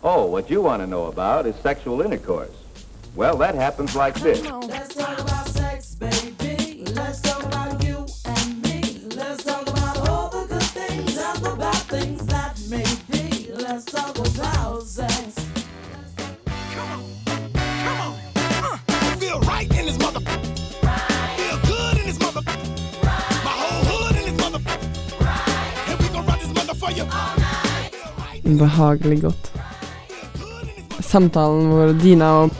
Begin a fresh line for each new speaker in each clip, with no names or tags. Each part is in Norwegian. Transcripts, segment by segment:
Oh, what you want to know about is sexual intercourse. Well, that happens like this.
Let's talk about sex, baby. Let's talk about you and me. Let's talk about all the good things and the bad things that may be. Let's talk about sex.
Come on. Uh, I feel right in this mother. Feel good in this mother. My whole hood in this mother. And we gon' run this mother for you. Feel right
Behagelig
good
godt.
in this mother.
Samtalen hvor Dina og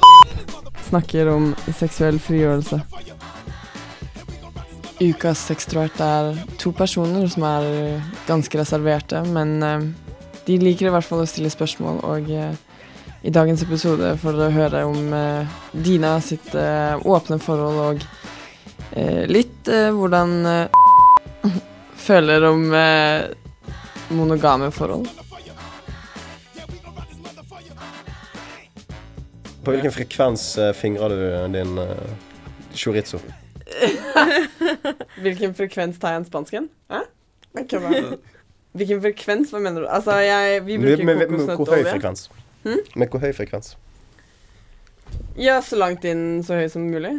snakker om seksuell frigjørelse.
For you. And we gon' run this mother.
Ukas sextrovert er to personer som er ganske reserverte, men eh, de liker i hvert fall å stille spørsmål, og eh, i dagens episode får dere høre om eh, Dina sitt eh, åpne forhold og eh, litt eh, hvordan eh, føler om eh, monogame forhold.
På hvilken frekvens eh, fingrer du din eh, chorizo?
Hvilken frekvens tar jeg i spansken? Hæ? Hvilken frekvens? Hva mener du? Altså, jeg, vi
Med, med, med, hvor høy
kokosnøttolje.
frekvens?
Hm?
Med hvor høy frekvens?
Ja, så langt inn så høy som mulig.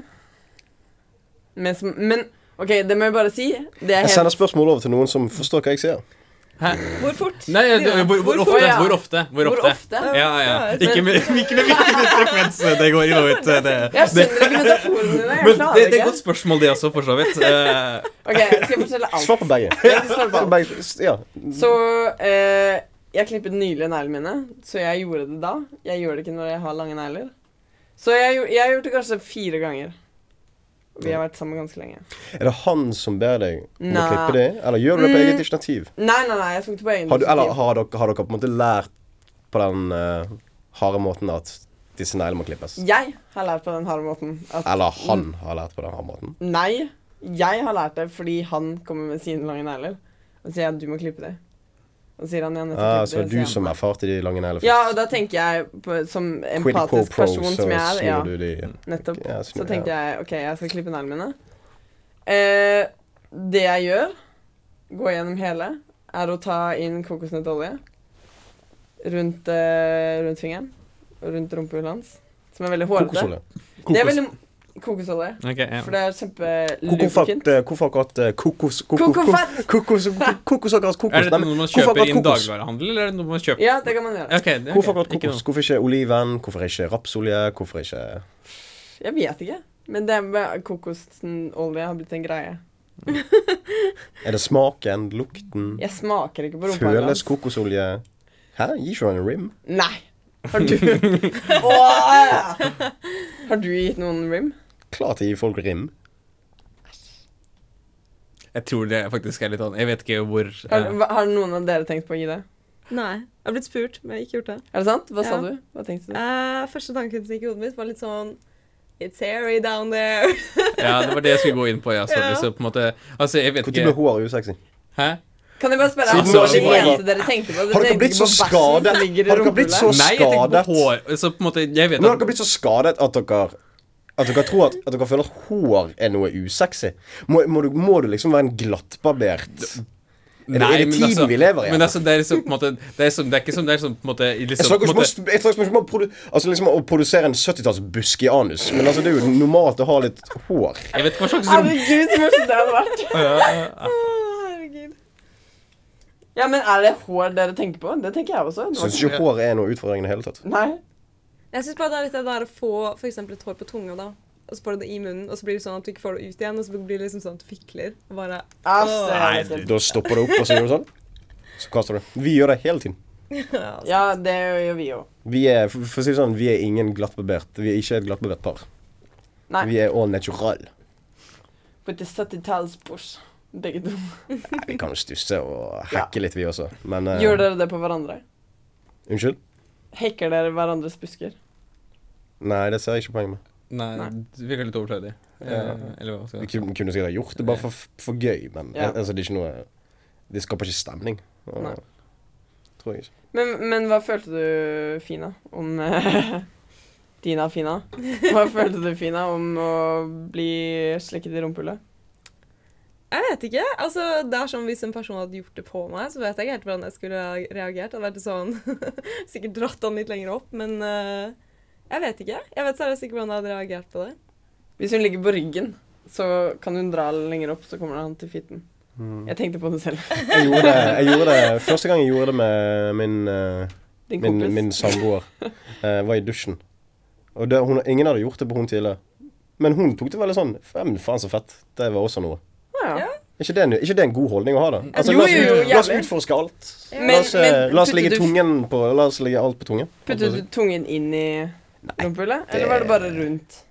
Men, som, men OK, det må jeg bare si. Det er
Jeg
helt
sender spørsmål over til noen som forstår hva jeg sier.
Hæ?
Hvor fort?
Nei, ja, det- hvor, hvor,
Hvorfor?
ofte,
Ja.
hvor ofte? Hvor
Hvor
ofte?
ofte?
Ja, ja.
Ja,
Ikke med ikke med hvilken frekvens det går i noe ut. Det,
Jeg
det,
skjønner ikke metaforene dine. Jeg
men det,
klarer
det er
ikke.
et godt spørsmål, det også, for så vidt. Eh,
OK, skal jeg fortelle alt?
Svar på begge.
Jeg skal svare på
Svar på
alt.
begge. S- Ja.
Så eh, jeg klippet nylig neglene mine, så jeg gjorde det da. Jeg gjør det ikke når jeg har lange negler. Så jeg, gjo- jeg har gjort det kanskje fire ganger. Vi har vært sammen ganske lenge.
Er det han som ber deg om å
Nei. Mm.
klippe det, eller gjør du det på eget initiativ?
Nei, nei, nei, jeg tok det på egen
Har du, eller
initiativ.
har dere, har dere på en måte lært på den eh, harde måten at disse neglene må klippes?
Jeg har lært på den harde måten at
Eller han har lært på den harde måten?
Nei, jeg har lært det fordi han kommer med sine lange negler. Og sier jeg, du må klippe det. Og sier han, jeg har nettopp
Ah,
klippet
så
det.
du
sier han.
som erfarte de lange neglene
Ja, og da tenker jeg på, som
Quid pro
empatisk
pro,
person
så
som jeg er,
snur du
ja,
de
nettopp,
Ja, snur,
så tenkte jeg, ok, jeg skal klippe neglene mine. Eh, det jeg gjør, går gjennom hele, er å ta inn kokosnøttolje rundt, eh, rundt fingeren, og rundt rumpehullet hans, som er veldig hårete.
Kokosolje.
Det er veldig... Kokosolje,
ok, ja.
for det er kjempe-lubrikant.
Hvorfor eh, hvorfor akkurat eh, kokos koko-
Kokofett!
Kokos, kokos, akkurat kokos.
Er dette
Nei, men
noe man
hvorfor
kjøper
akkurat
i en
kokos?
dagligvarehandel, eller er det noe man kjøper
Ja, det kan man gjøre.
Ok, det, ok,
Hvorfor akkurat
ikke
kokos?
noe.
Hvorfor ikke oliven? Hvorfor ikke rapsolje? Hvorfor ikke
Jeg vet ikke. Men det med kokosolje har blitt en greie.
Er det smaken? Lukten?
Jeg smaker ikke på rumpehullet.
Føles
hans.
kokosolje? Hæ? Gir ikke du en rim?
Nei. Har du Åh! Har du gitt noen rim?
Klart jeg gir folk rim.
Jeg tror det faktisk er litt sånn Jeg vet ikke hvor
Har,
eh,
hva- har noen av dere tenkt på å gi det?
Nei. Jeg har blitt spurt, men jeg har ikke gjort det.
Er det sant? Hva sa
Ja.
du? Hva tenkte du?
Eh, første tanken som gikk i hodet mitt, var litt sånn It's hairy down there.
Ja, det var det jeg skulle gå inn på, ja. Sorry.
Ja.
Så på en måte Altså, jeg vet
Når ble
ikke
hår usexy?
Hæ?
Kan jeg bare spørre,
Siden
altså,
nå-
det
siden jeg-
eneste dere tenkte på? Dere
Har dere
tenkte
blitt
ikke
så
på bæsjen som
skadet?
ligger i
Har dere blitt så
rumpehullet?
Nei, jeg tenker
skadet.
på hår. Så på en måte Jeg vet
Men har dere
at
blitt så skadet at dere at dere tror at, at dere føler at hår er noe usexy? Må, må, du, må du liksom være en glattbarbert Er det,
Nei,
er det
men
tiden
altså-
vi lever i?
Men altså, det er liksom på en måte Det er, som, det er ikke som Det er som på en måte i
Jeg
liksom, på
snakker ikke
en
om, å
måte,
st- jeg snakker ikke om å, produ altså liksom å produsere en 70-tallsbusk i anus, men altså det er jo normalt å ha litt hår.
Jeg vet ikke hva slags
Herregud, så morsomt det hadde vært.
Herregud.
Ja, men er det hår dere tenker på? Det tenker jeg også. Det var
Syns ikke hår er noe utfordring i det hele tatt.
ikke- Nei.
Jeg syns bare det er litt det der å få for eksempel et hår på tunga, da. Og så får du det i munnen, og så blir det sånn at du ikke får det ut igjen. Og så blir det liksom sånn at du fikler. Og bare
Altså,
Nei,
det-
Da stopper det opp, og så gjør du sånn. Så kaster du det. Vi gjør det hele tiden.
Ja, det gjør vi jo.
Vi er, for for å si det sånn, vi er ingen glattbarbert. Vi er ikke et glattbarbert par.
Nei.
Vi er all natural.
På et 70-tallsbors. Begge to.
Nei, Vi kan jo stusse og hacke litt, vi også. Men eh,
Gjør dere det på hverandre?
Unnskyld?
Hekker dere hverandres busker?
Nei, det ser jeg ikke poenget med.
Nei,
Nei.
det virker litt overflødig. Eh,
Ja.
Eller hva skal
Vi
jeg si.
kunne kunne sikkert ha gjort det bare for, for gøy, men
Ja.
eh, altså, det er ikke noe Det skaper ikke stemning. Og-
Nei.
Tror jeg ikke.
Men, men hva følte du, Fina, om eh, Dina Fina? Hva følte du, Fina, om å bli slikket i rumpehullet?
Jeg vet ikke. altså det er sånn Hvis en person hadde gjort det på meg, så vet jeg ikke helt hvordan jeg skulle ha reagert. Jeg hadde vært sånn, Sikkert dratt han litt lenger opp, men eh, jeg vet ikke. Jeg vet seriøst ikke hvordan jeg hadde reagert på det.
Hvis hun ligger på ryggen, så kan hun dra lenger opp, så kommer han til fitten.
Mm.
Jeg tenkte på det selv.
Jeg gjorde det, jeg gjorde det Første gang jeg gjorde det med min, eh,
Din
min,
kompis.
min samboer, eh, var i dusjen. Og det, hun, ingen hadde gjort det på hun tidligere. Men hun tok det veldig sånn "Fa- Men faen, så fett. Det var også noe.
Ah, Ja.
Ja.
Er ikke det en, er ikke det en god holdning å ha, da? Altså,
Jo,
la, oss,
jo, jo,
ut- la oss
jævlig.
utforske alt.
Men-
la, oss, eh,
men
la oss
puttet
ligge
du-
tungen på La oss ligge alt på tungen.
Puttet du tungen inn i rumpehullet, eller
det-
var det bare rundt?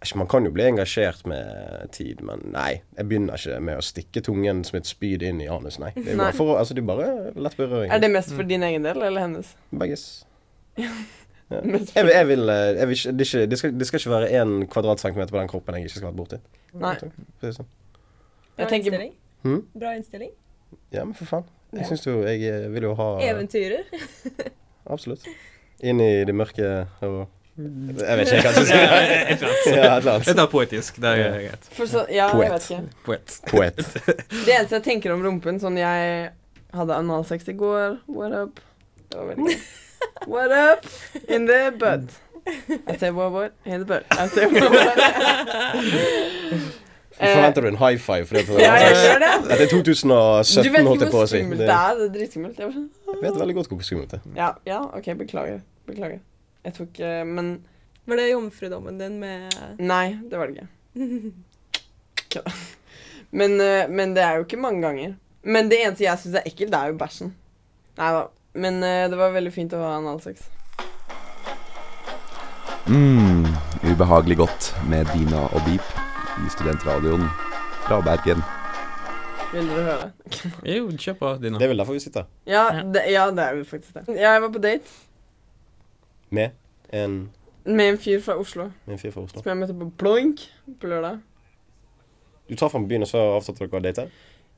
Ikke, Man kan jo bli engasjert med tid, men nei. Jeg begynner ikke med å stikke tungen som et spyd inn i anus, nei. Det er
Nei.
bare, for, å- altså, det er bare lett berøring.
Er det mest for din egen del eller hennes?
Begges. Ja.
mest
Jeg, vil- jeg vil, eh, jeg vil ikke, det, er ikke, det, skal, det skal ikke være én kvadratcentimeter på den kroppen jeg ikke skal være borti.
Nei.
Det er sånn.
Bra
Jeg tenker-
innstilling.
Hm?
Bra innstilling.
Ja, men for faen. Jeg syns jo Jeg eh, vil jo ha
Eventyrer.
Absolutt. Inn i det mørke og Jeg vet ikke, jeg kan ikke si det.
Et eller
Ja,
annet.
et eller annet.
Dette er poetisk. Det er greit.
For så, ja, jeg
Poet.
vet ikke.
Poet.
Poet.
Det eneste jeg tenker om rumpen, sånn jeg hadde analsex i går What up? Det var veldig gøy. What up in the butt? I say what what in the butt. I say what what.
Forventer du en high five? For det for-
Ja, jeg gjør det.
Dette er 2017,
Du vet
Altså, holdt jeg
ikke
på
hvor
å si.
skummelt
Det-
det er. Det er dritskummelt. Jeg var sånn
Jeg vet veldig godt hvor skummelt det er.
Ja, ja, OK, beklager. Beklager. Jeg tok eh, Men
Var det jomfrudommen din med
Nei, det var det ikke. Kødda. Men, eh, men det er jo ikke mange ganger. Men det eneste jeg syns er ekkelt, det er jo bæsjen. Nei da. Men eh, det var veldig fint å ha analsex.
Mm, ubehagelig godt med Dina og Beep i studentradioen fra Bergen.
Vil dere høre?
Jo, kjør på, Dina.
Det er vel derfor vi sitter.
Ja, det, ja, det er jo faktisk det. Jeg var på date
Med en,
med en fyr fra Oslo
med en fyr fra Oslo.
som jeg møtte på Ploink på lørdag.
Du traff ham på byen, og så avtalte dere å date?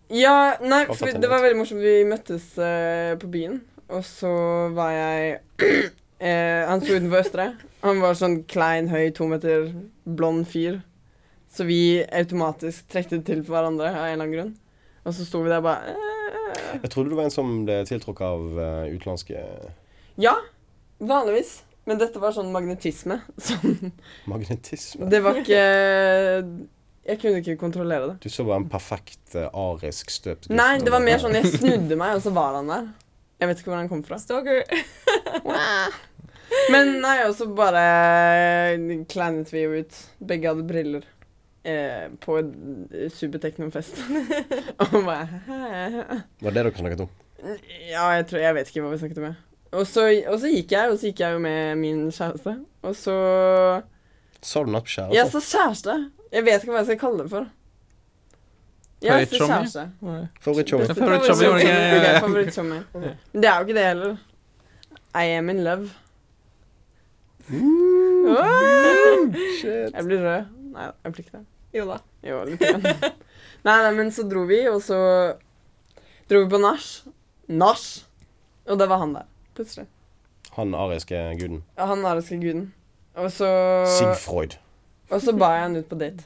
Ja, nei,
Hva
for
forteller
det var veldig morsomt. Vi møttes eh, på byen, og så var jeg eh, Han sto utenfor Østre. Han var sånn klein, høy, to meter, blond fyr. Så vi automatisk trekte til for hverandre av en eller annen grunn. Og så sto vi der bare eh,
Jeg trodde du var en som ble tiltrukket av eh, utenlandske
Ja, vanligvis. Men dette var sånn magnetisme. Sånn,
magnetisme.
det var ikke Jeg kunne ikke kontrollere det.
Du så bare en perfekt eh, arisk støpt gutt.
Nei, det var mer sånn jeg snudde meg, og så var han der. Jeg vet ikke hvor han kom fra.
Stalker?
Men nei, og så bare kleinet vi jo ut. Begge hadde briller. Eh, på en Superteknofest. og bare «Hæ?»
Var det dere snakket om?
Ja, jeg tror Jeg vet ikke hva vi snakket om. jeg. Og så, og så gikk jeg, og så gikk jeg jo med min kjæreste. Og så
Sa du altså? nattbeskjed?
Jeg sa kjæreste! Jeg vet ikke hva jeg skal kalle det for. Ja, Jeg sa
Favorittsjommi?
kjæreste.
Favorittshowet?
Beste
Favorittsjommi, var det ikke?
favorittsjommi. Ok, favorittsjommi. Men det er jo ikke det heller. I am in love. Åh! Jeg blir rød. Nei, jeg blir ikke det.
Jo da.
Jo, litt. grann. Nei, nei, men så dro vi, og så dro vi på nach. Nach! Og da var han der, plutselig.
Han ariske guden.
Og Han ariske guden. Og så,
Sigfroid.
og så ba jeg han ut på date.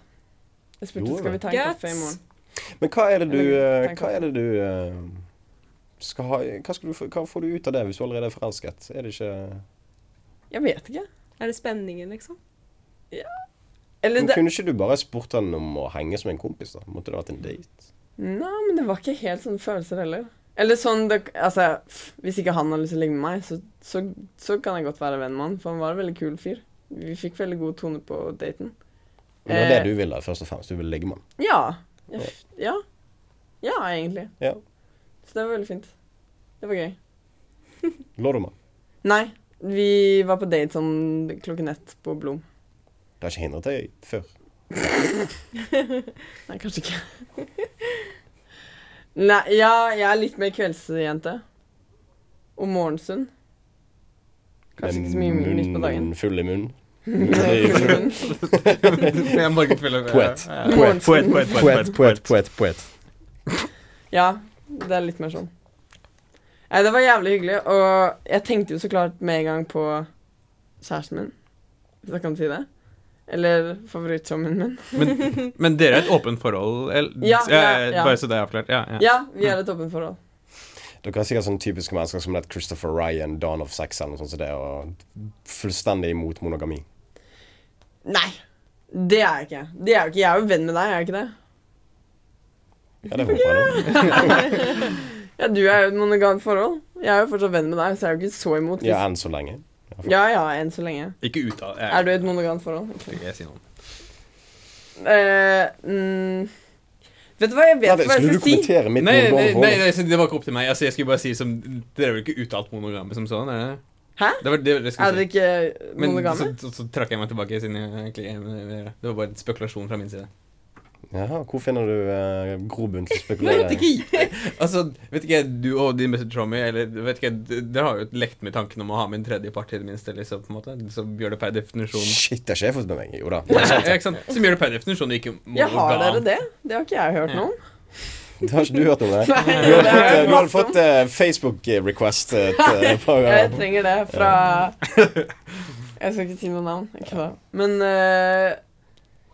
Jeg spurte
Gjorde
skal vi ta en
Guts.
kaffe i morgen.
Men hva er det du eh,
Eller, tenk
Hva er det du eh, skal ha hva, skal du, få- hva får du ut av det hvis du allerede er forelsket? Er det ikke
Jeg vet ikke.
Er det spenningen, liksom?
Eller
Men
det
Kunne ikke du bare spurt han om å henge som en kompis, da? Måtte det vært en date?
Nei, men det var ikke helt sånne følelser heller. Eller sånn det, Altså, pff, hvis ikke han har lyst til å ligge med meg, så, så, så kan jeg godt være venn med han, for han var en veldig kul fyr. Vi fikk veldig god tone på daten.
Men det var
Eh.
det du ville, først og fremst. Du ville ligge med han.
Ja. Jeg f- Ja. Ja, egentlig.
Ja.
Så det var veldig fint. Det var gøy.
Lå du med han?
Nei, vi var på date sånn klokken ett på Blom.
Det har ikke hindret deg før.
Nei, kanskje ikke. Nei, ja, jeg er litt mer kveldsjente. Og morgenstund. Kanskje ikke så mye
Med
nytt på dagen.
munnen Full i munnen.
Morgenstund.
Jeg må ikke fylle-
Poet.
Ja, ja.
Poet.
Poet, poet, poet,
Poet, poet, poet, poet.
Ja, det er litt mer sånn. Nei, det var jævlig hyggelig, og jeg tenkte jo så klart med en gang på kjæresten min, hvis jeg kan si det. Eller favorittsommen min.
Men, men dere er et åpent forhold? eller-
Ja, ja, ja.
eh, Bare så det er avklart. Ja, ja.
Ja, vi har et åpent forhold.
Dere er sikkert sånne typiske mennesker som det Christopher Ryan, Dawn of Sex eller noe sånt som det, og fullstendig imot monogami.
Nei, det er jeg ikke. Det er jeg ikke. Jeg er jo venn med deg, er jeg ikke det?
Ja, det håper jeg nå.
Ja, du er jo i et monogamt forhold. Jeg er jo fortsatt venn med deg, så jeg er jo ikke så imot. Hvis...
Ja, enn så lenge.
ja, ja, enn så lenge.
Ikke ut av jeg,
Er du i et monogamt forhold? Ok.
Jeg, sier noe.
Eh, mm, vet du hva, jeg vet
Nei,
hva jeg
skulle du
skal si.
kommentere mitt
Nei, nei,
monogame
nei,
forhold?
nei, så det var ikke opp til meg. Altså, jeg skulle bare si som Dere er vel ikke uttalt monogrammet som sånn? Er det?
Hæ?
det var det jeg skulle
Er dere
si.
ikke
Men
monogame?
så, så, så trakk jeg meg tilbake, siden jeg egentlig er enig med dere. Det var bare en spekulasjon fra min side.
Jaha, hvor finner du uh, grobunn til
Vet
spekulering?
ikke, altså, vet ikke du og din Mr. Trommy, eller vet ikke, d- dere har jo lekt med tanken om å ha med en tredjepart i det minste, liksom, på en måte, som gjør det per definisjon.
Shit, det har ikke jeg fått med meg. Jo da.
Ja, ikke sant? Som gjør det per definisjon, ikke monogam.
Ja, har dere det? Det har ikke jeg hørt noe om.
Det har ikke du hørt om det?
Nei,
Du
det har
hadde fått, eh,
jeg
du hadde
masse om.
fått eh, Facebook-request eh, et eh, par
Jeg
ganger.
trenger det fra Jeg skal ikke si noe navn. jeg kødder. Men eh,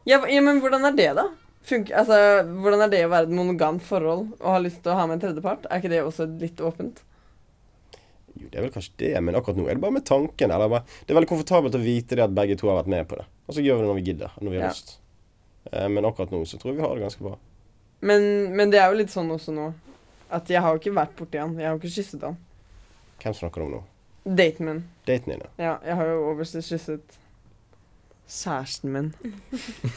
ja, hva- ja, men hvordan er det, da? Funk, altså, hvordan er det å være i et monogamt forhold og ha lyst til å ha med en tredjepart? Er ikke det også litt åpent?
Jo, det er vel kanskje det, men akkurat nå er det bare med tanken. Eller bare, det er veldig komfortabelt å vite det at begge to har vært med på det. Og så gjør vi det når vi gidder, når vi har
Ja.
lyst. Eh, men akkurat nå så tror jeg vi har det ganske bra.
Men, men det er jo litt sånn også nå at jeg har jo ikke vært borti han. Jeg har jo ikke kysset han.
Hvem snakker du om nå?
Daten min.
Daten din, ja.
Ja, jeg har jo overst kysset kjæresten min.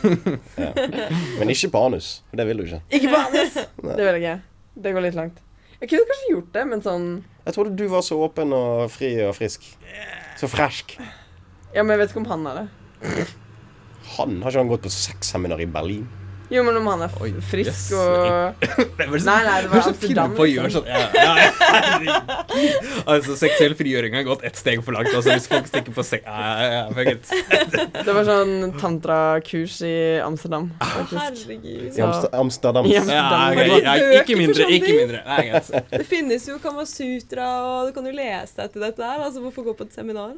Men ikke på anus. For det vil du ikke.
Ikke på Anders! det vil jeg ikke. Det går litt langt. Jeg kunne kanskje gjort det, men sånn
Jeg trodde du var så åpen og fri og frisk. Så fresk.
Ja, men jeg vet ikke om han er det.
Han har ikke han gått på sexseminar i Berlin?
Jo, men om han er f
Oi,
frisk
yes.
og
Nei, nei,
Nei, nei, det var Amsterdam,
På å gjøre
liksom.
sånn, ja, ja, ja, herregud. altså, seksuell frigjøring har gått ett steg for langt, altså, hvis folk stikker på sek... Ja, ja, ja, fuck it.
Det var sånn tantrakurs i Amsterdam, faktisk.
Herregud.
I Amster- Amsterdam.
Ja.
Ja, ok, ja, ikke mindre, ikke mindre. Nei, greit.
Det finnes jo Kamasutra, og du kan jo lese deg til dette her. Altså, hvorfor gå på et seminar?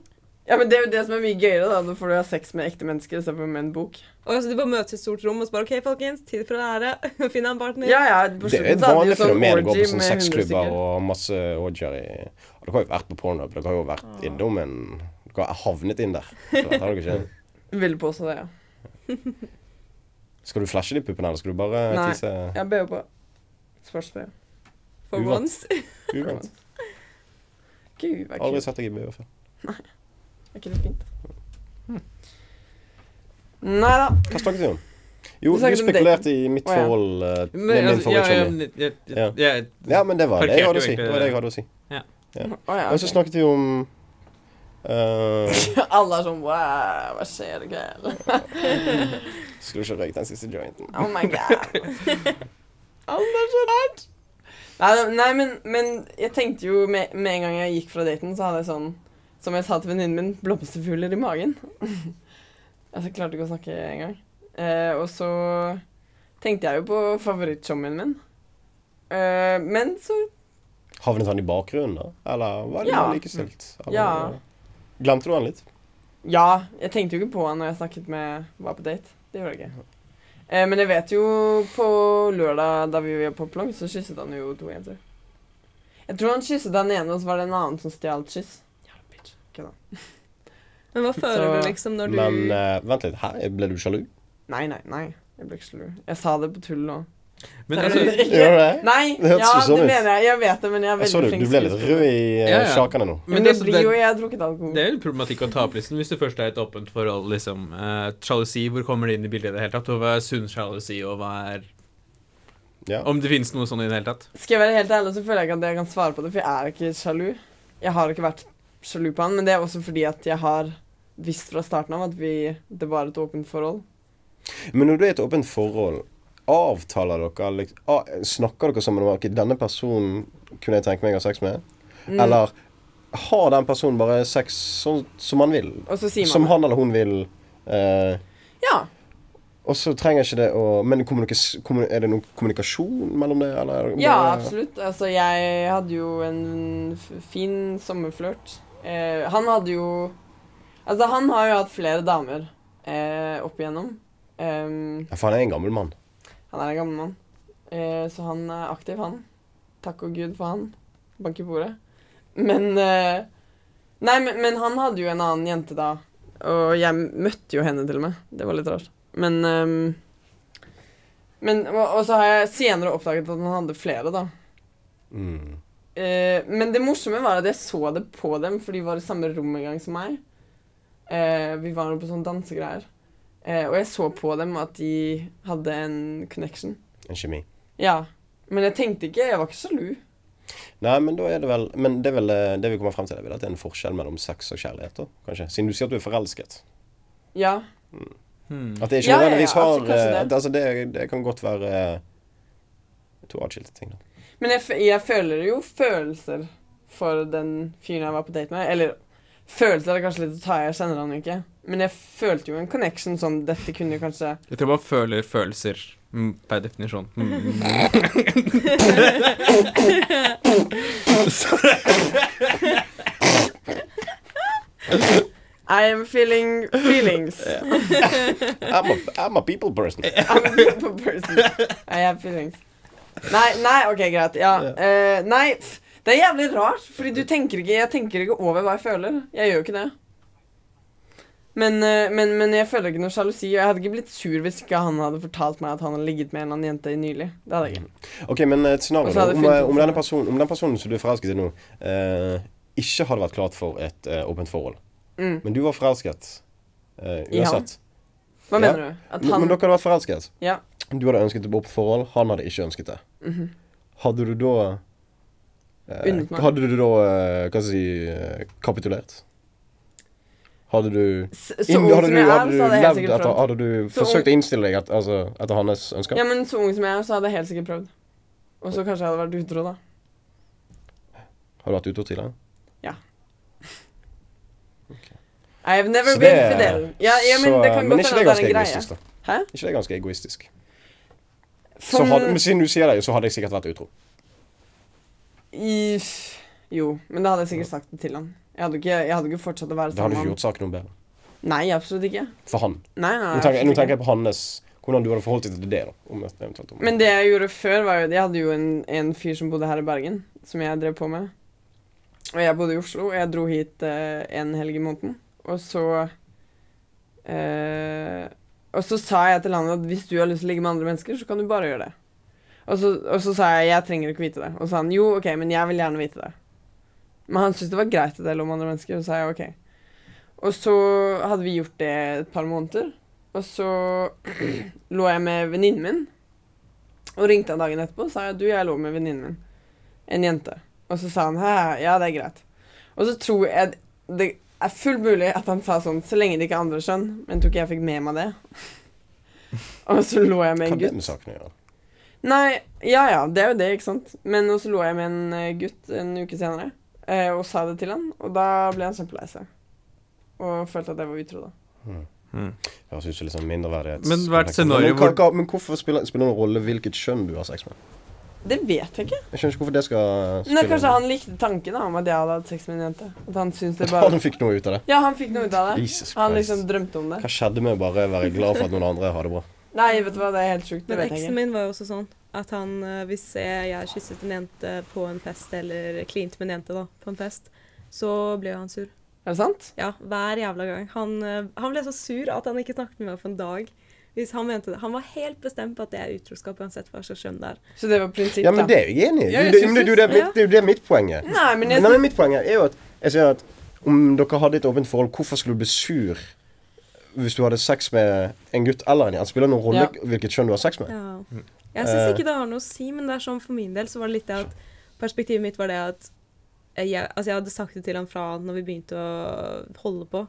Ja, men det er jo det som er mye gøyere, da. Da får du ha sex med ekte mennesker istedenfor med en bok.
Og altså, Du bare møtes i et stort rom og så bare OK, folkens, tid for å lære. Finne en partner.
Ja, ja, på
Det er jo
slutten
et
så hadde vi
vanlig
jo sånn
fenomen å gå
orgy
på sånne
med 100
sexklubber
stykker.
og masse orgier i og Dere har jo vært på pornhub, dere har jo vært innom en Dere har havnet inn der. Så dette har dere ikke.
Vil påstå det, ja.
Skal du flashe de puppene, eller skal du bare
Nei.
tisse
Jeg ber jo på sports-BH.
For
Uvant.
once.
uvant?
Gud, hva
Aldri
kult.
sett deg i bøya før.
Er ikke det fint? Nei da.
Hva snakket vi om? Jo,
Vi
du
snakket om
spekulerte i mitt
Å, ja.
forhold eh,
Men,
med min
altså, ja, ja,
favorittkjemi.
jeg, jeg, jeg,
Ja, men det var det jeg
Parkerte
hadde å
jo
si.
egentlig
Det var det
det.
jeg hadde å si.
Å, ja,
Og så
ok.
snakket vi om eh,
Alle er sånn wow, hva skjer i kveld?
Skulle ikke røykt den siste jointen.
Oh my god. Alle er så rart. Nei, da- nei men, men jeg tenkte jo med, med en gang jeg gikk fra daten, så hadde jeg sånn Som jeg sa til venninnen min, blomsterfugler i magen. altså, jeg klarte ikke å snakke engang. Eh, og så tenkte jeg jo på favorittshommien min. Eh, men så
Havnet han i bakgrunnen, da? Eller var det
Ja.
bare likestilt? Eller-
Ja.
Glemte du han litt?
Ja, jeg tenkte jo ikke på han når jeg snakket med var på date. Det gjorde jeg ikke. Eh, men jeg vet jo på lørdag da vi var på Plong, så kysset han jo to jenter. Jeg tror han kysset den ene, og så var det en annen som stjal et kyss. Jævla bitch. Kødda.
Men hva føler
Så-
du liksom når du
Men eh, vent litt, her ble du sjalu?
Nei, nei, nei. Jeg ble ikke sjalu. Jeg sa det på tull nå.
men altså,
Gjør du det?
Nei!
Det hørtes
ja,
jo sånn
det
ut.
mener jeg. Jeg vet det, men jeg er
Jeg så
veldig
du,
flink
du ble litt
skuespiller.
rød i eh,
Ja, ja.
sjakene nå.
Men det blir jo Jeg har drukket
Det
alkohol.
er litt problematikk å ta opp listen hvis det først er et åpent forhold. liksom. Eh, sjalusi, hvor kommer det inn i bildet i det hele tatt? Og hva er sunn sjalusi, og hva er
Ja.
Om det finnes noe sånn i det hele tatt?
Skal jeg være helt ærlig, så føler jeg ikke at jeg kan svare på det, for jeg er ikke sjalu. Jeg har ikke vært sjalu på han, men det er også fordi at jeg har visst fra starten av at vi, det var et åpent forhold.
Men når du er i et åpent forhold, avtaler dere liksom, ah, Snakker dere sammen om ok, denne personen kunne jeg tenke meg å ha sex med?
Mm.
Eller har den personen bare sex sånn som han vil?
Og så sier man
Som
det.
han eller hun vil? eh,
Ja.
og så trenger ikke det å Men kommunikes- kommu- er det noen kommunikasjon mellom det, eller? er det
ja,
bare-
absolutt. Altså, jeg hadde jo en f- fin sommerflørt. Eh, han hadde jo Altså, han har jo hatt flere damer eh, opp igjennom. Ehm,
Ja, for han er en gammel mann.
han er en gammel mann, eh, så han er aktiv, han. Takk og gud for han. Bank i bordet. Men eh, Nei, men, men han hadde jo en annen jente da, og jeg møtte jo henne til og med. Det var litt rart. Men, ehm, men og, og så har jeg senere oppdaget at han hadde flere, da.
Mm.
Eh, men det morsomme var at jeg så det på dem, for de var i samme rom en gang som meg. Eh, vi var på sånne dansegreier. Eh, og jeg så på dem at de hadde en connection.
En kjemi.
Ja. Men jeg tenkte ikke Jeg var ikke sjalu.
Nei, men da er det vel Men det er vel eh, det vi kommer frem til, er vel at det er en forskjell mellom sex og kjærlighet, da, kanskje? Siden du sier at du er forelsket.
Ja.
At det ikke
Ja, ja, ja,
nødvendigvis har
altså, kanskje
eh,
det.
at- altså, det. det kan godt være eh, to atskilte ting, da.
Men jeg, f- jeg føler jo følelser for den fyren jeg var på date med. Eller følelser er kanskje litt å ta i, jeg kjenner han jo ikke. Men jeg følte jo en connection sånn Dette kunne jo kanskje
Jeg tror man føler følelser mm, per definisjon. Mm.
I am feeling feelings.
I'm a, I'm a people person.
I'm a people person. I have feelings. Nei, nei, ok, greit. Ja. eh, nei, pff, det er jævlig rart, fordi du tenker ikke Jeg tenker ikke over hva jeg føler. Jeg gjør jo ikke det. Men, eh, men, men jeg føler ikke noe sjalusi, og jeg hadde ikke blitt sur hvis ikke han hadde fortalt meg at han hadde ligget med en eller annen jente nylig. Det hadde jeg ikke.
Ok, men et scenario
Og så hadde
da, om,
jeg funnet
eh, om,
ut-
denne personen, om den personen som du er forelsket i nå, eh, ikke hadde vært klart for et eh, åpent forhold.
Mm.
Men du var forelsket eh,
I han?
uansett.
Hva
Ja.
mener du? At
Men,
han
men dere hadde vært forelsket.
Ja.
Du hadde ønsket et åpent forhold, han hadde ikke ønsket det. Hadde du da eh,
Mhm. Unnet meg.
Hadde du da eh, hva skal jeg si eh, kapitulert? Hadde du
s- Så
inn-
ung
hadde
som
du,
jeg er, så
hadde
hadde
du
jeg helt
levd
sikkert
etter
prøvd.
Hadde du
Så
forsøkt å innstille deg et, altså, etter hans ønsker?
Ja, men så ung som jeg er, så hadde jeg helt sikkert prøvd. Og så kanskje jeg hadde vært utro, da.
Har du vært utro tidligere?
I have never
Så
been
det-
fidel. Ja, ja, men
så,
det kan
men
godt
ikke
hende at det er
det ganske
en greie.
egoistisk, da?
Hæ?
Ikke det ganske egoistisk? Så
For-
hadde, men siden du sier det, så hadde jeg sikkert vært utro.
I, jo, men da hadde jeg sikkert sagt det til han. Jeg hadde ikke, jeg hadde ikke fortsatt å være
Det hadde
sammen
ikke
med han.
gjort saken noe bedre.
Nei, absolutt ikke.
For han.
Nei, nei,
Nå tenker, nå
absolutt ikke.
tenker jeg på hans Hvordan du hadde forholdt deg til det, da. Om et- eventuelt om.
Men det jeg gjorde før, var jo Jeg hadde jo en, en fyr som bodde her i Bergen, som jeg drev på med. Og jeg bodde i Oslo, og jeg dro hit eh, en helg i måneden. Og så eh, Og så sa jeg til han at hvis du har lyst til å ligge med andre mennesker, så kan du bare gjøre det. Og så, og så sa jeg jeg trenger ikke vite det. Og så sa han jo, ok, men jeg vil gjerne vite det. Men han syntes det var greit at jeg lå med andre mennesker, og så sa jeg ok. Og så hadde vi gjort det et par måneder. Og så lå jeg med venninnen min, og ringte han dagen etterpå og sa at du, jeg lå med venninnen min. En jente. Og så sa han hæ, ja, det er greit. Og så tror jeg det er fullt mulig at han sa sånn så lenge det ikke er andre skjønn, men tror ikke jeg fikk med meg det. og så lå jeg med
Hva
en
har det
gutt.
med saken å gjøre?
Nei, ja ja, det er jo det, ikke sant. Men så lå jeg med en eh, gutt en uke senere eh, og sa det til han, og da ble han kjempelei seg. Og følte at jeg var utro, da.
Det Høres ut som litt sånn mindreverdighets...
Men hvert
kompleks.
scenario
men, hva-
hvor-
hva- men hvorfor spiller, spiller det noen rolle hvilket kjønn du har sex med?
Det vet jeg ikke.
Jeg skjønner ikke hvorfor det skal spille
Nei, kanskje
noen-
han likte tanken da, om at jeg hadde hatt sex med en jente. At han syntes det
At
bare
han fikk noe ut av det.
Ja, han fikk noe ut av det.
Jesus
Han
Christ.
liksom drømte om det.
Hva skjedde med å bare være glad for at noen andre har det bra?
Nei, vet du hva, det er helt sjukt. Det
Men
vet jeg
eksen
ikke.
min var jo også sånn at han, eh, hvis jeg, jeg kysset en jente på en fest, eller klinte med en jente da, på en fest, så ble jo han sur.
Er det sant?
Ja, hver jævla gang. Han, eh, han ble så sur at han ikke snakket med meg for en dag. Hvis han mente det. Han var helt bestemt på at det er utroskap uansett hva slags kjønn det er.
Så det var prinsipp,
Ja, men
da.
det er jeg enig i.
Ja, jeg
Det-
synes
men det er jo det-
det.
det er jo det mitt poeng er.
Nei, men jeg
Nei, men mitt poeng er jo at Jeg sier at om dere hadde et åpent forhold, hvorfor skulle du bli sur hvis du hadde sex med en gutt eller en jente? Det Spiller noen rolle hvilket kjønn du har sex med?
Ja. Jeg syns ikke det har noe å si, men det er sånn for min del så var det litt det at perspektivet mitt var det at jeg, altså jeg hadde sagt det til han fra når vi begynte å holde på,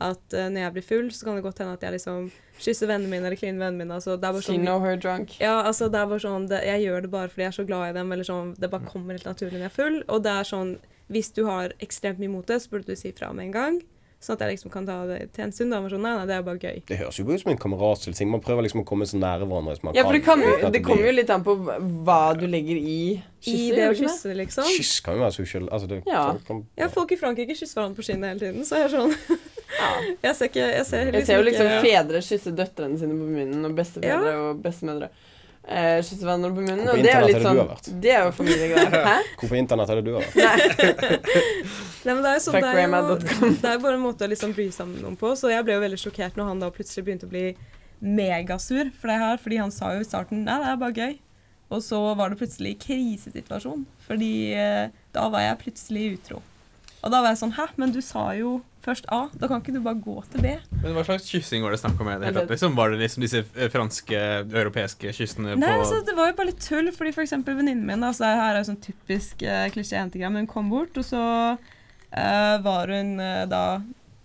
at eh, når jeg blir full, så kan det godt hende at jeg liksom kysser vennene mine eller kliner vennene mine. Altså, det er bare
She
sånn,
know her drunk.
ja, altså, det er bare sånn det, Jeg gjør det bare fordi jeg er så glad i dem, eller sånn Det bare kommer helt naturlig når jeg er full. Og det er sånn Hvis du har ekstremt mye mot det, så burde du si fra med en gang. Sånn at jeg liksom kan ta det til en stund. Da. Men sånn, nei, nei, det er bare gøy.
Det høres jo ut som en kameratslig ting. Man prøver liksom å komme så nære hverandre som man
Ja, for det, kan,
uten
jo-
at
det
blir-
kommer jo litt an på hva du legger i
I
kysset.
det
gjør det
å
ikke det?
kysse, liksom.
Kyss kan jo være så uskyldig. Altså, det
sånn. Ja.
kan,
Ja, folk i Frankrike kysser hverandre på skinnet hele tiden, så jeg er sånn Jeg ser ikke Jeg ser,
Jeg ser jo liksom
ikke-
fedre kysse døtrene sine på munnen, og bestefedre og bestemødre eh, kysse hverandre på munnen.
Hvor på
Og det er jo litt
internett er det du har
sånn Det er jo familiegreier. Hæ?
Hvor på internett er det du har vært?
Nei, men det er jo sånn, det er jo,
Fuckgrandma.com.
det er jo bare en måte å liksom bry seg med noen på. Så jeg ble jo veldig sjokkert når han da plutselig begynte å bli megasur for det her. Fordi han sa jo i starten nei, det er bare gøy. Og så var det plutselig krisesituasjon. Fordi eh, da var jeg plutselig utro. Og da var jeg sånn hæ, men du sa jo først A. Da kan ikke du bare gå til B?
Men hva slags kyssing var det snakk om? i det hele tatt? Liksom, var det liksom disse eh, franske, europeiske kyssene
Nei,
eh, på
altså, det var jo bare litt tull, fordi for eksempel venninnen min, altså, her er jo sånn typisk uh, klisjé jentegram, hun kom bort, og så eh, var hun eh, da,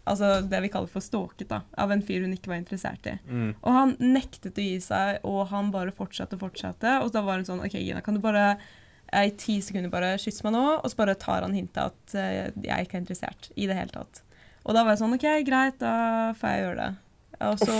altså det vi kaller for stalket da, av en fyr hun ikke var interessert i.
mm.
Og han nektet å gi seg, og han bare fortsatte og fortsatte, og da var hun sånn, ok Gina, kan du bare eh, i ti sekunder bare kysse meg nå, og så bare tar han hintet at eh, jeg ikke er interessert i det hele tatt. Og da var jeg sånn, ok, greit, da får jeg gjøre det. Og, så,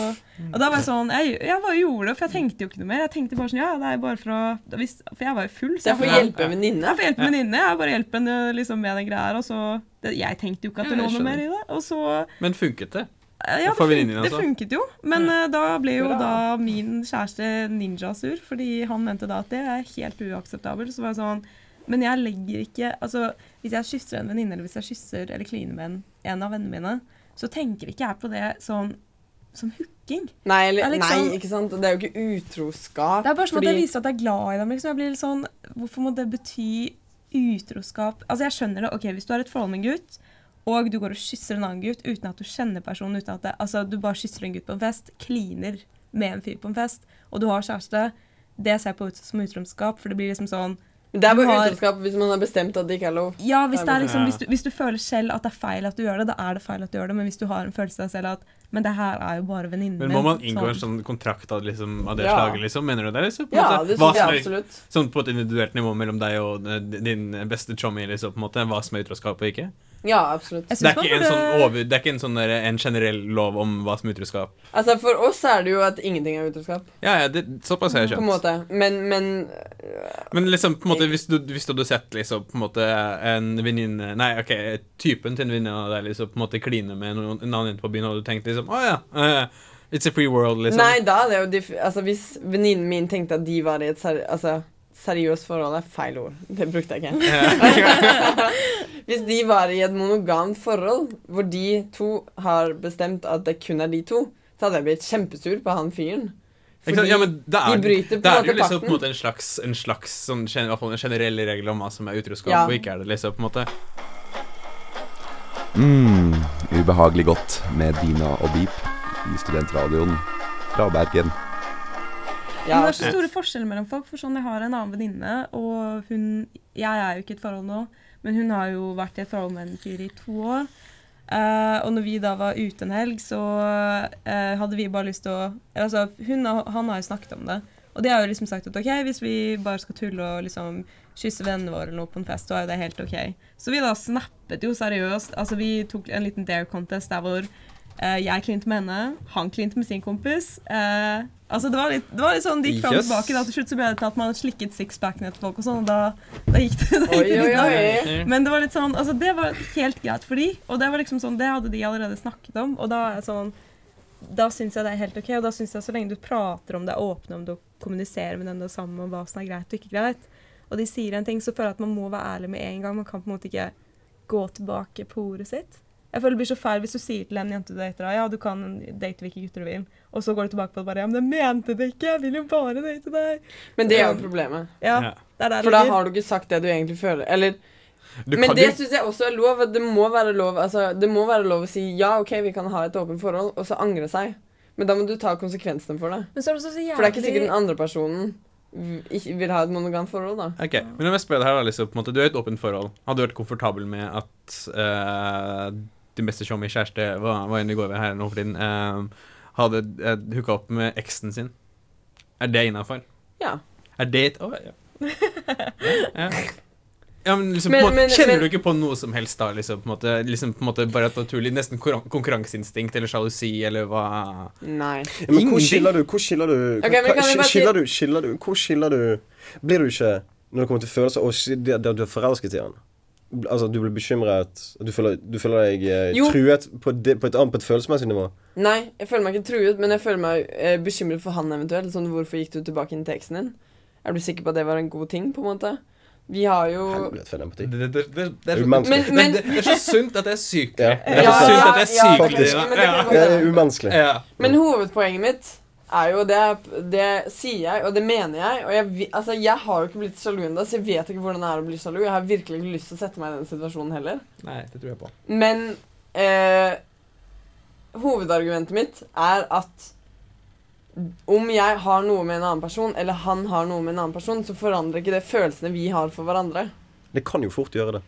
og da var jeg sånn, jeg, jeg bare gjorde det, for jeg tenkte jo ikke noe mer. Jeg tenkte bare sånn, ja, det er bare for å, da hvis, for jeg var jo full.
Så jeg får
bare-
hjelpe en venninne.
Jeg får hjelpe en venninne, jeg bare hjelper henne liksom, med den greia her, og så, det, jeg tenkte jo ikke at det
Ja,
lå
jeg
noe
skjønner.
mer i det. Og så,
Men funket det?
Eh, Ja, det,
For
fun
venninnen,
det
altså.
funket jo, men eh, da ble jo da min kjæreste ninjasur, fordi han mente da at det er helt uakseptabelt. Så var jeg sånn Men jeg legger ikke Altså, hvis jeg kysser en venninne, eller hvis jeg kysser eller kliner med en, en av vennene mine, så tenker ikke jeg på det sånn som hooking.
Nei, eller,
Det er liksom-
nei, ikke sant. Det er jo ikke utroskap.
Det er bare sånn at jeg
fordi-
viser at jeg er glad i dem. Liksom. Jeg blir litt sånn Hvorfor må det bety utroskap? Altså, jeg skjønner det. Ok, hvis du har et forhold med en gutt, og du går og kysser en annen gutt uten at du kjenner personen, uten at det, altså, du bare kysser en gutt på en fest, kliner med en fyr på en fest, og du har kjæreste, det ser jeg på ut som utroskap, for det blir liksom sånn
Men Det er
Du
bare
har-
utroskap hvis man har bestemt at det ikke er lov.
Ja, hvis, det er liksom,
Ja.
hvis, du, hvis du føler selv at det er feil at du gjør det, da er det feil at du gjør det, men hvis du har en følelse av deg selv at Men det her er jo bare venninnen min.
Men må man inngå en
sånn-
sånn kontrakt av, liksom, av det
Ja.
slaget, liksom? Mener du det? Liksom, på en
Ja,
måte?
det
Hva
syns jeg
som er-
absolutt.
Sånn på et individuelt nivå mellom deg og eh, din beste chommy, liksom, på en måte? Hva som er utroskap og ikke?
Ja, absolutt.
Jeg
Det er
synes man
ikke en
burde-
sånn, over, det er ikke en sånn der, en generell lov om hva som er utroskap?
Altså, For oss er det jo at ingenting er utroskap.
Ja, ja, det, såpass har jeg
På en
skjønt.
måte. Men, men
Men liksom, på en måte, hvis du, hvis du hadde sett liksom, på en måte, en venninne Nei, ok, typen til en venninne av deg liksom, på en måte kline med noen, en annen jente på byen, hadde du tenkt liksom Å ja, eh, it's a free world, liksom.
eh, Nei, da er det jo dif Altså, Hvis venninnen min tenkte at de var i et seri altså, seriøst forhold, er feil ord. Det brukte jeg ikke. Hvis de var i et monogamt forhold hvor de to har bestemt at det kun er de to, så hadde jeg blitt kjempesur på han fyren.
Ikke sant? Ja, men det er,
de bryter på en
det er jo
måte
liksom på
pakten.
en måte en slags, en slags sånn, gen- i hvert fall en generell regel om hva som er utroskap
Ja.
og ikke er det, liksom, på en måte.
Mm, ubehagelig godt med Dina og Beep i studentradioen fra Bergen.
Ja, altså.
Men det er så store forskjeller mellom folk. For sånn, Jeg har en annen venninne, og hun Jeg er jo ikke i et forhold nå, men hun har jo vært i et forhold med en fyr i to år. Eh, og når vi da var ute en helg, så eh, hadde vi bare lyst til å eller Altså, hun og han har jo snakket om det. Og de har jo liksom sagt at OK, hvis vi bare skal tulle og liksom kysse vennene våre eller noe på en fest, så er jo det helt OK. Så vi da snappet jo seriøst. Altså, vi tok en liten dare contest der hvor Eh, jeg klinte med henne, han klinte med sin kompis. Eh, altså det var, litt, det var litt sånn, det gikk fram og
Yes.
tilbake. Da, til slutt så ble det til at man slikket sixpacken etter folk og sånn, og da, da gikk det. Da gikk
Oi,
det
oi,
litt
oi.
langt. Men det var litt sånn, altså det var helt greit for de, og det var liksom sånn, det hadde de allerede snakket om, og da er jeg sånn, da synes jeg det er helt ok, og da synes jeg så lenge du prater om det, er åpne om det, og kommuniserer med den du er sammen med, om hva som er greit og ikke greit, og de sier en ting, så føler jeg at man må være ærlig med en gang, man kan på en måte ikke gå tilbake på ordet sitt. Jeg føler det blir så feil hvis du sier til en jente du dater, ja, du kan date hvilke gutter du vil, og så går du tilbake på det bare, ja, men jeg mente det ikke, jeg vil jo bare date deg.
Men det er jo problemet.
Ja,
Ja.
det er der det
For da
ligger.
har du ikke sagt det du egentlig føler. Eller
Du
Men
kan
det
jo
syns jeg også er lov. at Det må være lov altså, Det må være lov å si ja, OK, vi kan ha et åpent forhold, og så angre seg. Men da må du ta konsekvensene for det.
Men så er det også så jævlig...
For det er ikke sikkert den andre personen v- ikke vil ha et monogamt forhold, da.
Ok, men om jeg spør deg her da, liksom, på en måte, Du er i et åpent forhold. Hadde du vært komfortabel med at eh, din beste chommy kjæreste, hva, hva enn det går ved her nå for tiden, eh, hadde uh, hooka opp med eksen sin? Er det innafor?
Ja.
Er det et Å, ja. ja. ja. Ja, men liksom,
Men-
på en måte,
men-
Kjenner
men-
du ikke på noe som helst da? liksom, på en måte, liksom på en måte Bare et naturlig nesten konkurran- konkurranseinstinkt eller sjalusi eller hva
Nei.
Ja, Men hvor
Ingenting.
skiller du Hvor skiller du
Ok, men
hva-
kan vi
sk-
bare si-
Skiller du Skiller du Hvor skiller du Blir du ikke Når det kommer til følelser Og sk- det- det- du er forelsket i han bl- Altså, du blir bekymret Du føler, du føler deg eh,
Jo.
truet på, det, på et annet, på et følelsesmessig nivå?
Nei, jeg føler meg ikke truet, men jeg føler meg eh, bekymret for han eventuelt. Sånn, hvorfor gikk du tilbake inn til eksen din? Er du sikker på at det var en god ting, på en måte? Vi har jo
Helvete, for en empati.
Det, det, det, det, det, er, så,
Umenneskelig.
men,
Men- men-
det, det er så sunt at det er sykt.
Ja.
Det er så
Ja,
sunt at det er
ja,
sykt.
faktisk,
Ja,
men det kan
Det er umenneskelig.
ja. ja.
Men hovedpoenget mitt er jo det, det sier jeg, og det mener jeg. Og jeg, vi- altså, jeg har jo ikke blitt sjalu ennå, så jeg vet ikke hvordan det er å bli sjalu. Jeg har virkelig ikke lyst til å sette meg i den situasjonen heller.
Nei, det tror jeg på.
Men eh, hovedargumentet mitt er at om jeg har noe med en annen person, eller han har noe med en annen person, så forandrer ikke det følelsene vi har for hverandre.
Det kan jo fort gjøre det.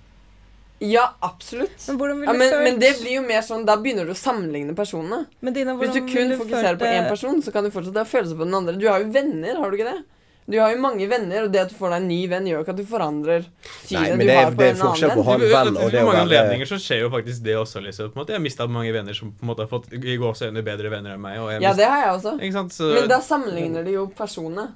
Ja, absolutt.
Men hvordan
Ja,
ville
men,
du følt
men det blir jo mer sånn, da begynner du å sammenligne personene.
Men Dina,
Hvis du
hvordan
kun
ville
fokuserer
følt
på én
det-
person, så kan du fortsatt ha følelser på den andre. Du har jo venner, har du ikke det? Du har jo mange venner, og det at du får deg en ny venn, gjør jo ikke at du forandrer
Nei,
synet
men
du
det er-
har på
det er
en
forskjell
annen venn.
på å ha en venn og det å
På mange
være-
anledninger så skjer jo faktisk det også. liksom. På en måte. Jeg har mista mange venner som på en måte har fått i gåseøyne bedre venner enn meg. og jeg
Ja,
mistet-
det har jeg også.
Ikke sant? Så,
Men da sammenligner de jo personene.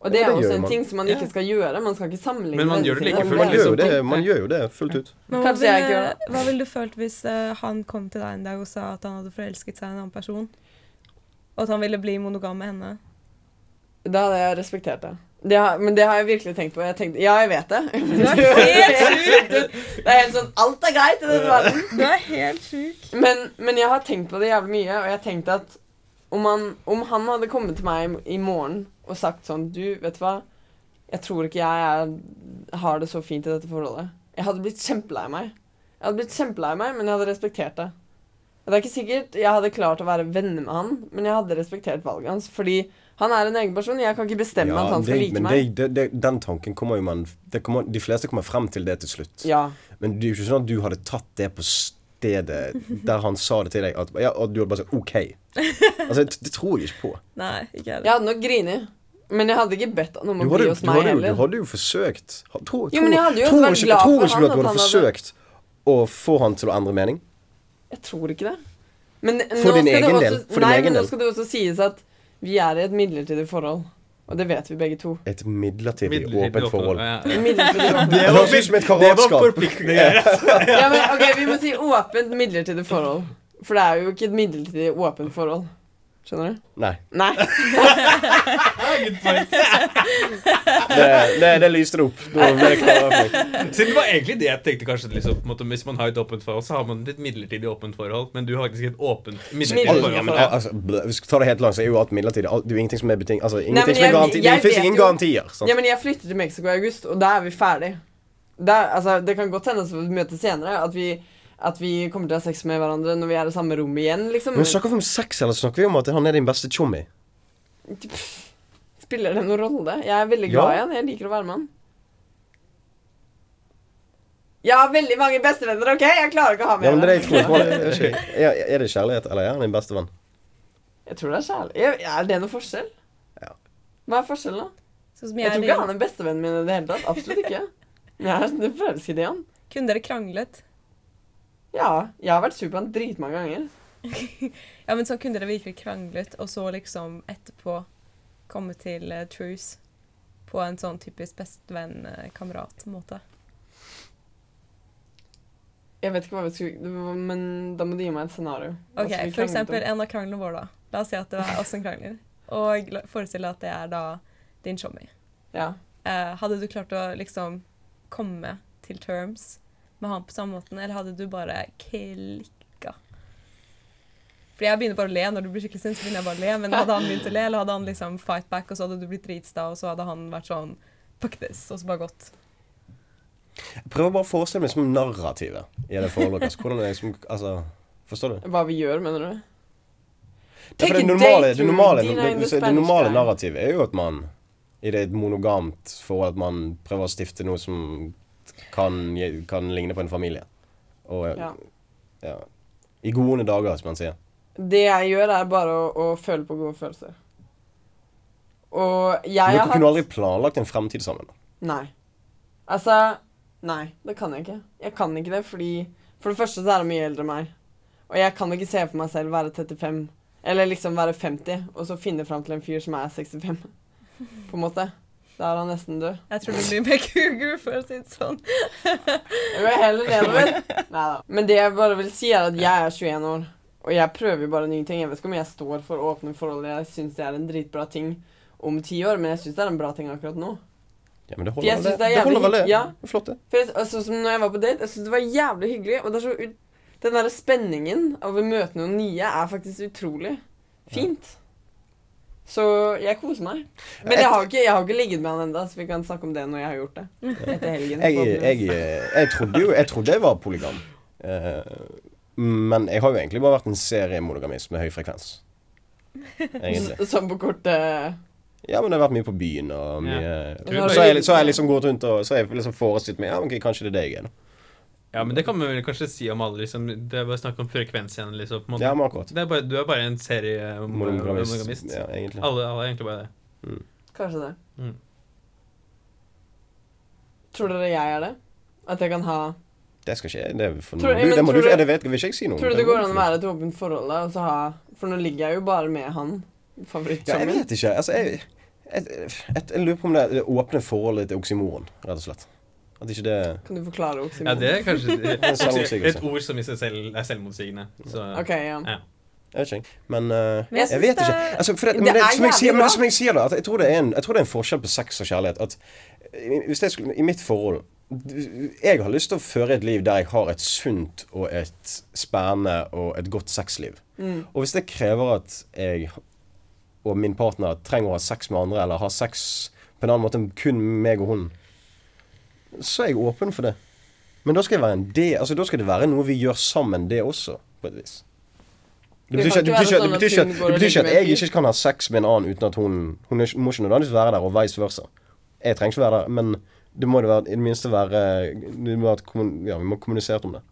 Og det
Ja,
er
det
også
gjør
en
man.
ting som man
Ja.
ikke skal gjøre. Man skal ikke sammenligne
Men man gjør det
vennene
like
sine.
fullt,
Det
Man
er-
gjør jo
liksom.
det, man gjør jo det fullt ut.
Men
Kanskje
hva
jeg
ville,
ikke gjør
Hva ville du følt hvis eh, han kom til deg en dag og sa at han hadde forelsket seg i en annen person? Og at han ville bli monogam med henne?
Da hadde jeg respektert det. det har, men det har jeg virkelig tenkt på. Jeg tenkte, ja, jeg vet det. det er helt sånn Alt er greit i denne verden.
Du er helt sjuk.
Men, men jeg har tenkt på det jævlig mye, og jeg har tenkt at om han, om han hadde kommet til meg i i morgen og sagt sånn Du, vet du hva? Jeg tror ikke jeg er, har det så fint i dette forholdet. Jeg hadde blitt kjempelei meg. Jeg hadde blitt kjempelei meg, men jeg hadde respektert det. Og Det er ikke sikkert jeg hadde klart å være venner med han, men jeg hadde respektert valget hans. Fordi han er en egen person. Jeg kan ikke bestemme at han skal
det,
like
men det,
meg.
det, det, den tanken kommer jo man det kommer, De fleste kommer frem til det til slutt.
Ja.
Men det er jo ikke sånn at du hadde tatt det på stedet der han sa det til deg, at, ja, at du hadde bare sagt OK. Altså, det, det tror jeg ikke på.
Nei, ikke jeg
Jeg hadde nok grini, men jeg hadde ikke bedt han om
Du
å
hadde,
bli
jo-
hos
du,
meg
hadde jo, du
heller.
hadde jo forsøkt Ha- Tror
Jo, men jeg hadde jo
tror
vært
ikke-
glad
tror
for
ikke du
han
at du
at
hadde
han hadde-
forsøkt å få han til å endre mening?
Jeg tror ikke det. Men nå
For
skal
din
det
egen
også,
del, for din
nei,
egen
men nå
del.
skal det også sies at vi er i et midlertidig forhold. Og det vet vi begge to.
Et midlertidig,
midlertidig
åpent forhold.
Ja, ja.
Midlertidig forhold.
Det høres ut som et karatskap.
forpliktende greier.
Ja, men, ok, Vi må si åpent, midlertidig forhold. For det er jo ikke et midlertidig åpent forhold. Skjønner du?
Nei,
Nei.
det, det, det lyste det opp. Nå ble jeg klar over det.
Siden det var egentlig det jeg tenkte kanskje liksom, på en måte, Hvis man har et åpent forhold, så har man et midlertidig åpent forhold. Men du har faktisk et åpent midlertidig
Midlertidig
Al- ja,
forhold.
men,
Ja.
al- altså, bl- vi skal ta det helt langt, så er jo alt midlertidig. Alt, det er jo ingenting som er beting... Altså, ingenting
men
som er
jeg-
garanti. Det
jeg
finnes
vet
ingen
jo-
garantier. Sant?
Ja, men jeg flytter til Mexico i august, og da er vi ferdig. Da, altså, det kan godt hende at vi møtes senere. At vi, at vi kommer til å ha sex med hverandre når vi er i samme rom igjen. liksom.
men snakker vi om sex, eller snakker vi om at han er din beste tjommi?
Spiller det noen rolle? Jeg er veldig
Ja.
glad i han. Jeg liker å være med han. Jeg har veldig mange bestevenner, OK? Jeg klarer ikke å ha mer.
Ja, men det er det jeg tror på. det er ikke- Er, er det kjærlighet, eller er han din beste venn?
Jeg tror det er kjærlig. Jeg- Er det noe forskjell?
Ja.
Hva er forskjellen, da?
Sånn som
Jeg
jeg
tror
og
ikke
Dina.
han er bestevennen min i det hele tatt. Absolutt ikke. Men jeg er forelsket i han.
Kunne dere kranglet?
Ja, jeg har vært sur på han dritmange ganger.
Ja, men sånn kunne dere virkelig kranglet, og så liksom etterpå komme til eh, truce på en sånn typisk bestevenn-kamerat-måte.
Jeg vet ikke hva vi skulle Men da må du gi meg et scenario. Hva skal
Ok,
vi
for
krangle
eksempel
om?
en av kranglene våre da. La oss si at det er oss som krangler. Og la- forestille at det er da din shommy.
Ja.
Eh, hadde du klart å liksom komme til terms med han på samme måten, eller hadde du bare klikka? Fordi jeg begynner bare å le når du blir skikkelig sint, så begynner jeg bare å le. Men hadde han begynt å le, eller hadde han liksom fight back, og så hadde du blitt dritsta, og så hadde han vært sånn fuck this, og så bare gått.
Jeg prøver bare å forestille meg som narrativet i det forholdet deres. Hvordan er det som, altså, Forstår du?
Hva vi gjør, mener du?
Ja, for
Take
det
a
normale,
date
det
to
normale,
Medina
det,
in the
det, det
Spanish
normale
Town.
narrativet er jo at man i det et monogamt forhold at man prøver å stifte noe som kan, gi- kan ligne på en familie. Og ja.
Ja.
I gode dager, som man sier.
Det jeg gjør, er bare å, å føle på gode følelser. Og jeg har
Men dere kunne
hatt
aldri planlagt en fremtid sammen.
Nei. Altså Nei, det kan jeg ikke. Jeg kan ikke det fordi For det første så er han mye eldre enn meg. Og jeg kan ikke se for meg selv være 35, eller liksom være 50, og så finne fram til en fyr som er 65. På en måte. Da er han nesten død.
Jeg tror det blir mer kugu, for å si det sånn.
Jeg vil heller nedover. Neida. Men det jeg bare vil si, er at jeg er 21 år, og jeg prøver bare nye ting. Jeg vet ikke om jeg står for åpne forhold. Jeg syns det er en dritbra ting om ti år, men jeg syns det er en bra ting akkurat nå.
Ja, men det
For jeg
holder vel,
synes det
det.
er
Det holder
jævlig
vel, det.
hygg- ja.
Det er Flott, det.
For jeg, altså, som når jeg var på date, jeg synes det var jævlig hyggelig. Og det er så ut, den der spenningen av å møte noen nye er faktisk utrolig fint. Så jeg koser meg. Men jeg har ikke, jeg har ikke ligget med han ennå, så vi kan snakke om det når jeg har gjort det. Etter helgen.
Jeg, jeg,
forhåpentligvis.
jeg trodde jo Jeg trodde jeg var polygam. Eh, men jeg har jo egentlig bare vært en seriemonogamist med høy frekvens. Egentlig.
S- Sånn på kortet
Ja, men det har vært mye på byen og mye
Tror
Og Så har jeg, så har jeg liksom gått rundt og Så har jeg liksom forestilt meg Ja, men ok, kanskje det er det jeg er. nå.
Ja, men det kan man vel kanskje si om alle, liksom. Det er bare snakk om frekvens igjen, liksom. på en måte.
Ja, men akkurat.
Det er bare, du er bare en seriemonogamist.
Monogamist. Ja, egentlig.
Alle, alle er egentlig bare det.
Kanskje det.
Mm.
Tror dere jeg er det? At jeg kan ha
Det skal ikke jeg. Det, er for
Tror-
noe.
men
du, det må
tror
du
du-
Det vet, vil ikke jeg si noe om.
Tror du det
må
går an å
få-
være i et åpent forhold da, og så ha For nå ligger jeg jo bare med han.
Ja, jeg
Favorittsongen.
vet ikke. Altså, jeg, jeg, jeg, jeg lurer på om det, det åpne forholdet til oksymoron, rett og slett. At ikke det
Kan du forklare
Ja,
oksymoron?
det er kanskje
er selvmotsigelse.
et ord som i seg selv er selvmotsigende. Så
Ok, ja.
Jeg vet ikke. Men eh,
Men jeg
jeg
synes
vet
det-
ikke. Altså, for det,
det
men det,
er
som jeg sier,
jævlig
men det
bra.
som jeg sier da, at jeg tror det er en, jeg tror det er en forskjell på sex og kjærlighet. At i- hvis jeg skulle, I mitt forhold du- Jeg har lyst til å føre et liv der jeg har et sunt og et spennende og et godt sexliv.
Mm.
Og hvis det krever at jeg og min partner trenger å ha sex med andre, eller ha sex på en annen måte enn kun meg og hun, så er jeg åpen for det. Men da skal, jeg være en del, altså, da skal det være noe vi gjør sammen, det også, på et vis. Det betyr
Det
ikke,
kan
det
ikke
betyr ikke,
være
det betyr ikke,
sånn at
at-
hun går
det
og
betyr ikke
ligger
at jeg
med en
ikke kan ha sex med en annen uten at hun Hun er ikke- må ikke nødvendigvis være der, og vice versa. Jeg trenger ikke være der, men det må det være, i det minste være det må være, et kommun- Ja, vi må kommunisere om det.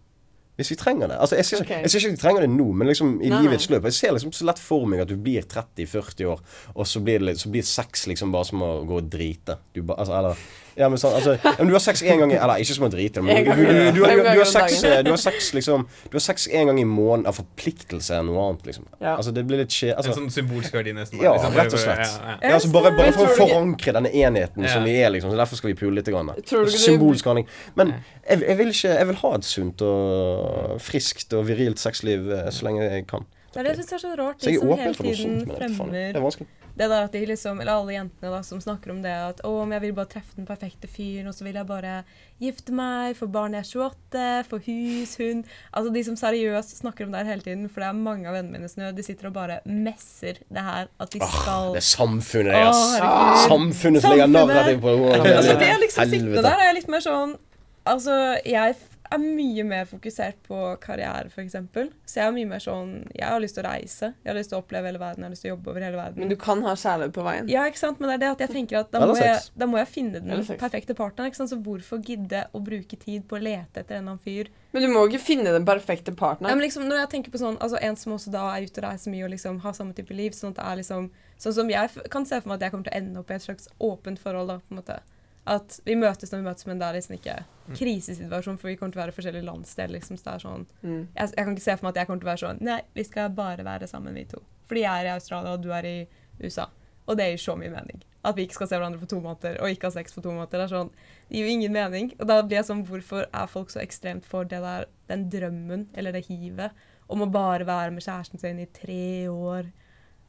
Hvis vi trenger det. Altså, jeg sier ikke-
Ok.
jeg sier ikke at vi trenger det nå, men liksom i
Nei, nei.
livets løp. Jeg ser liksom så lett for meg at du blir 30-40 år, og så blir, det, litt- så blir sex liksom bare som å gå og drite. Du ba, altså, eller ja, men, sånn, altså, ja, men du har sex én gang i Eller ikke som å drite, men
En
du,
gang
du,
i-
du, du,
fem
har- du,
ganger
har
om
sex,
dagen.
eh, du har sex liksom Du har sex én gang i måneden av forpliktelse enn noe annet, liksom.
Ja.
Altså, det blir litt skje...
En
Altså,
sånn symbolsk verdi, nesten.
ja,
liksom.
rett og slett.
Ja, ja.
Ja, altså bare, bare for
Men tror
å
du
forankre denne enheten som
Ja.
vi er, liksom. Så derfor skal vi pule litt. Grann, da.
Tror du ikke det-
Symbolsk handling. Men jeg, jeg vil ikke Jeg vil ha et sunt og friskt og virilt sexliv eh, så lenge jeg kan.
Det er det jeg synes er så rart.
Så jeg er
Liksom,
åpen
hele
for noe sunt.
tiden
Men jeg vet faen, det
fremmer
er vanskelig.
det der at de liksom, eller alle jentene da, som snakker om det at å, men jeg vil bare treffe den perfekte fyren, og så vil jeg bare gifte meg, få barn når jeg er 28, få hus, hund Altså de som seriøst snakker om det her hele tiden, for det er mange av vennene mine som gjør, de sitter og bare messer det her at de skal
Det er samfunnet, det, ass.
Å, herregud.
Samfunnet som legger
Samfunnet.
narrativ på
Altså, det å liksom sitte
Helvete.
der er litt mer sånn Altså, jeg f- er mye mer fokusert på karriere, f.eks. Så jeg er mye mer sånn Jeg har lyst til å reise. Jeg har lyst til å oppleve hele verden. Jeg har lyst til å jobbe over hele verden.
Men du kan ha kjærlighet på veien.
ja, ikke sant? Men det er det at jeg tenker at da
Eller
må jeg,
sex.
da må jeg finne den
Eller sex.
perfekte partneren. ikke sant? Så hvorfor gidde å bruke tid på å lete etter en eller annen fyr?
Men du må ikke finne den perfekte
Ja,
partneren.
men liksom, når jeg tenker på sånn, altså En som også da er ute og reiser mye og liksom har samme type liv Sånn at det er liksom Sånn som jeg f- kan se for meg at jeg kommer til å ende opp i et slags åpent forhold. da, på en måte At vi møtes når vi møtes, men det er liksom ikke krisesituasjon, for vi kommer til å være i forskjellige landsdeler. liksom, så det er sånn
Mm.
jeg, jeg kan ikke se for meg at jeg kommer til å være sånn Nei, vi skal bare være sammen, vi to. Fordi jeg er i Australia, og du er i USA. Og det gir så mye mening. At vi ikke skal se hverandre på to måneder, og ikke ha sex på to måneder. Det er sånn, det gir jo ingen mening. Og da blir jeg sånn, hvorfor er folk så ekstremt for det der, den drømmen, eller det hivet, om å bare være med kjæresten sin i tre år?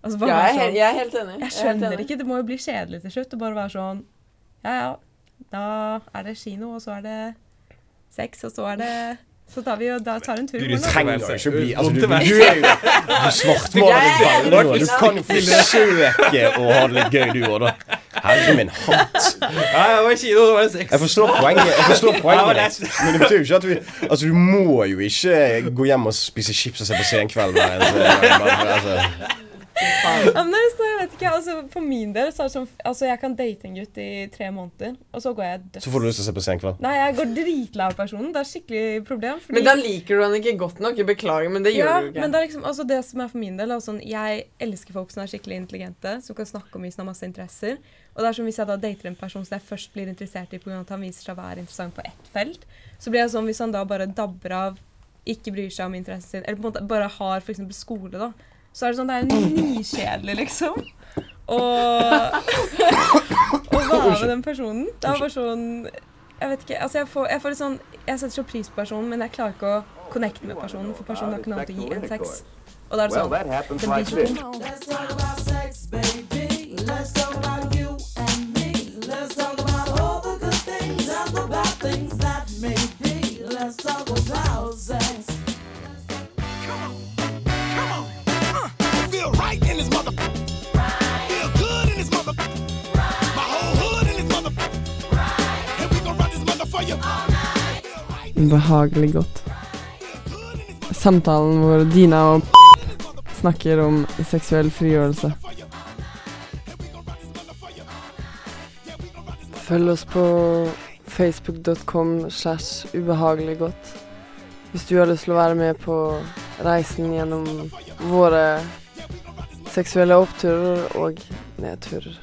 Altså bare
Ja, jeg, er
være
helt-
sånn,
jeg er helt enig.
jeg
er helt
skjønner
enig.
ikke, det må jo bli kjedelig til slutt, å bare være sånn, ja, ja, da er det kino, og så er det sex, og så er det... Så tar vi jo, da tar vi en tur.
Du
i morgen, da.
trenger jo ikke å bli altså,
Vondt
du,
i verden.
du er jo Du svartmaler
Jeg er
deg veldig nå.
helt
Du kan jo forsøke å ha det litt gøy, du òg, da. Herre min hatt.
Ja, det var kino, det var sex.
Jeg forstår poenget. Jeg forstår
Ja,
poenget
men
ditt. Men det betyr jo ikke at vi Altså, du må jo ikke gå hjem og spise chips og se på Senkveld hver eneste gang. bare- Altså.
Ja, men det er så, jeg vet ikke, altså For min del så er det sånn Altså, jeg kan date en gutt i tre måneder, og så går jeg døds...
Så får du lyst til å se på Senkveld.
Nei, jeg går dritlei av personen. Det er skikkelig problem. Fordi,
Men da liker du han ikke godt nok. Jeg beklager, men det gjør
ja,
du jo ikke.
Men det er liksom Altså, det som er for min del, er sånn Jeg elsker folk som er skikkelig intelligente, som kan snakke om mye, som har masse interesser. Og det er som hvis jeg da dater en person som jeg først blir interessert i pga. at han viser seg å være interessant på ett felt, så blir jeg sånn hvis han da bare dabber av, ikke bryr seg om interessen sin, eller på en måte bare har f.eks. skole, da, så er det sånn Det er jo nykjedelig, liksom. Og, og være med den personen. Det er bare sånn Jeg vet ikke. Altså, jeg får, jeg får litt sånn Jeg setter så pris på personen, men jeg klarer ikke å connecte med personen, for personen har ikke noe annet å gi enn sex. Og da er det
Well,
sånn
that happens
Det
like
blir så
this.
dumt.
Let's talk about sex, baby. Let's talk about you and me. Let's talk about all the good things and the bad things that may be. Let's talk about sex.
Come on. Uh, I feel right in this mother. Feel good in this mother. My whole hood in this mother. And we gon' run this mother for you. Feel right,
Behagelig godt.
feel good in this mother
Samtalen hvor Dina og snakker om seksuell frigjørelse.
for you. And we gon' run this mother for you. Yeah, we gon' run this mother.
Følg oss på facebook.com slash ubehageliggodt. Hvis du har lyst til å være med på reisen gjennom våre seksuelle oppturer og nedturer.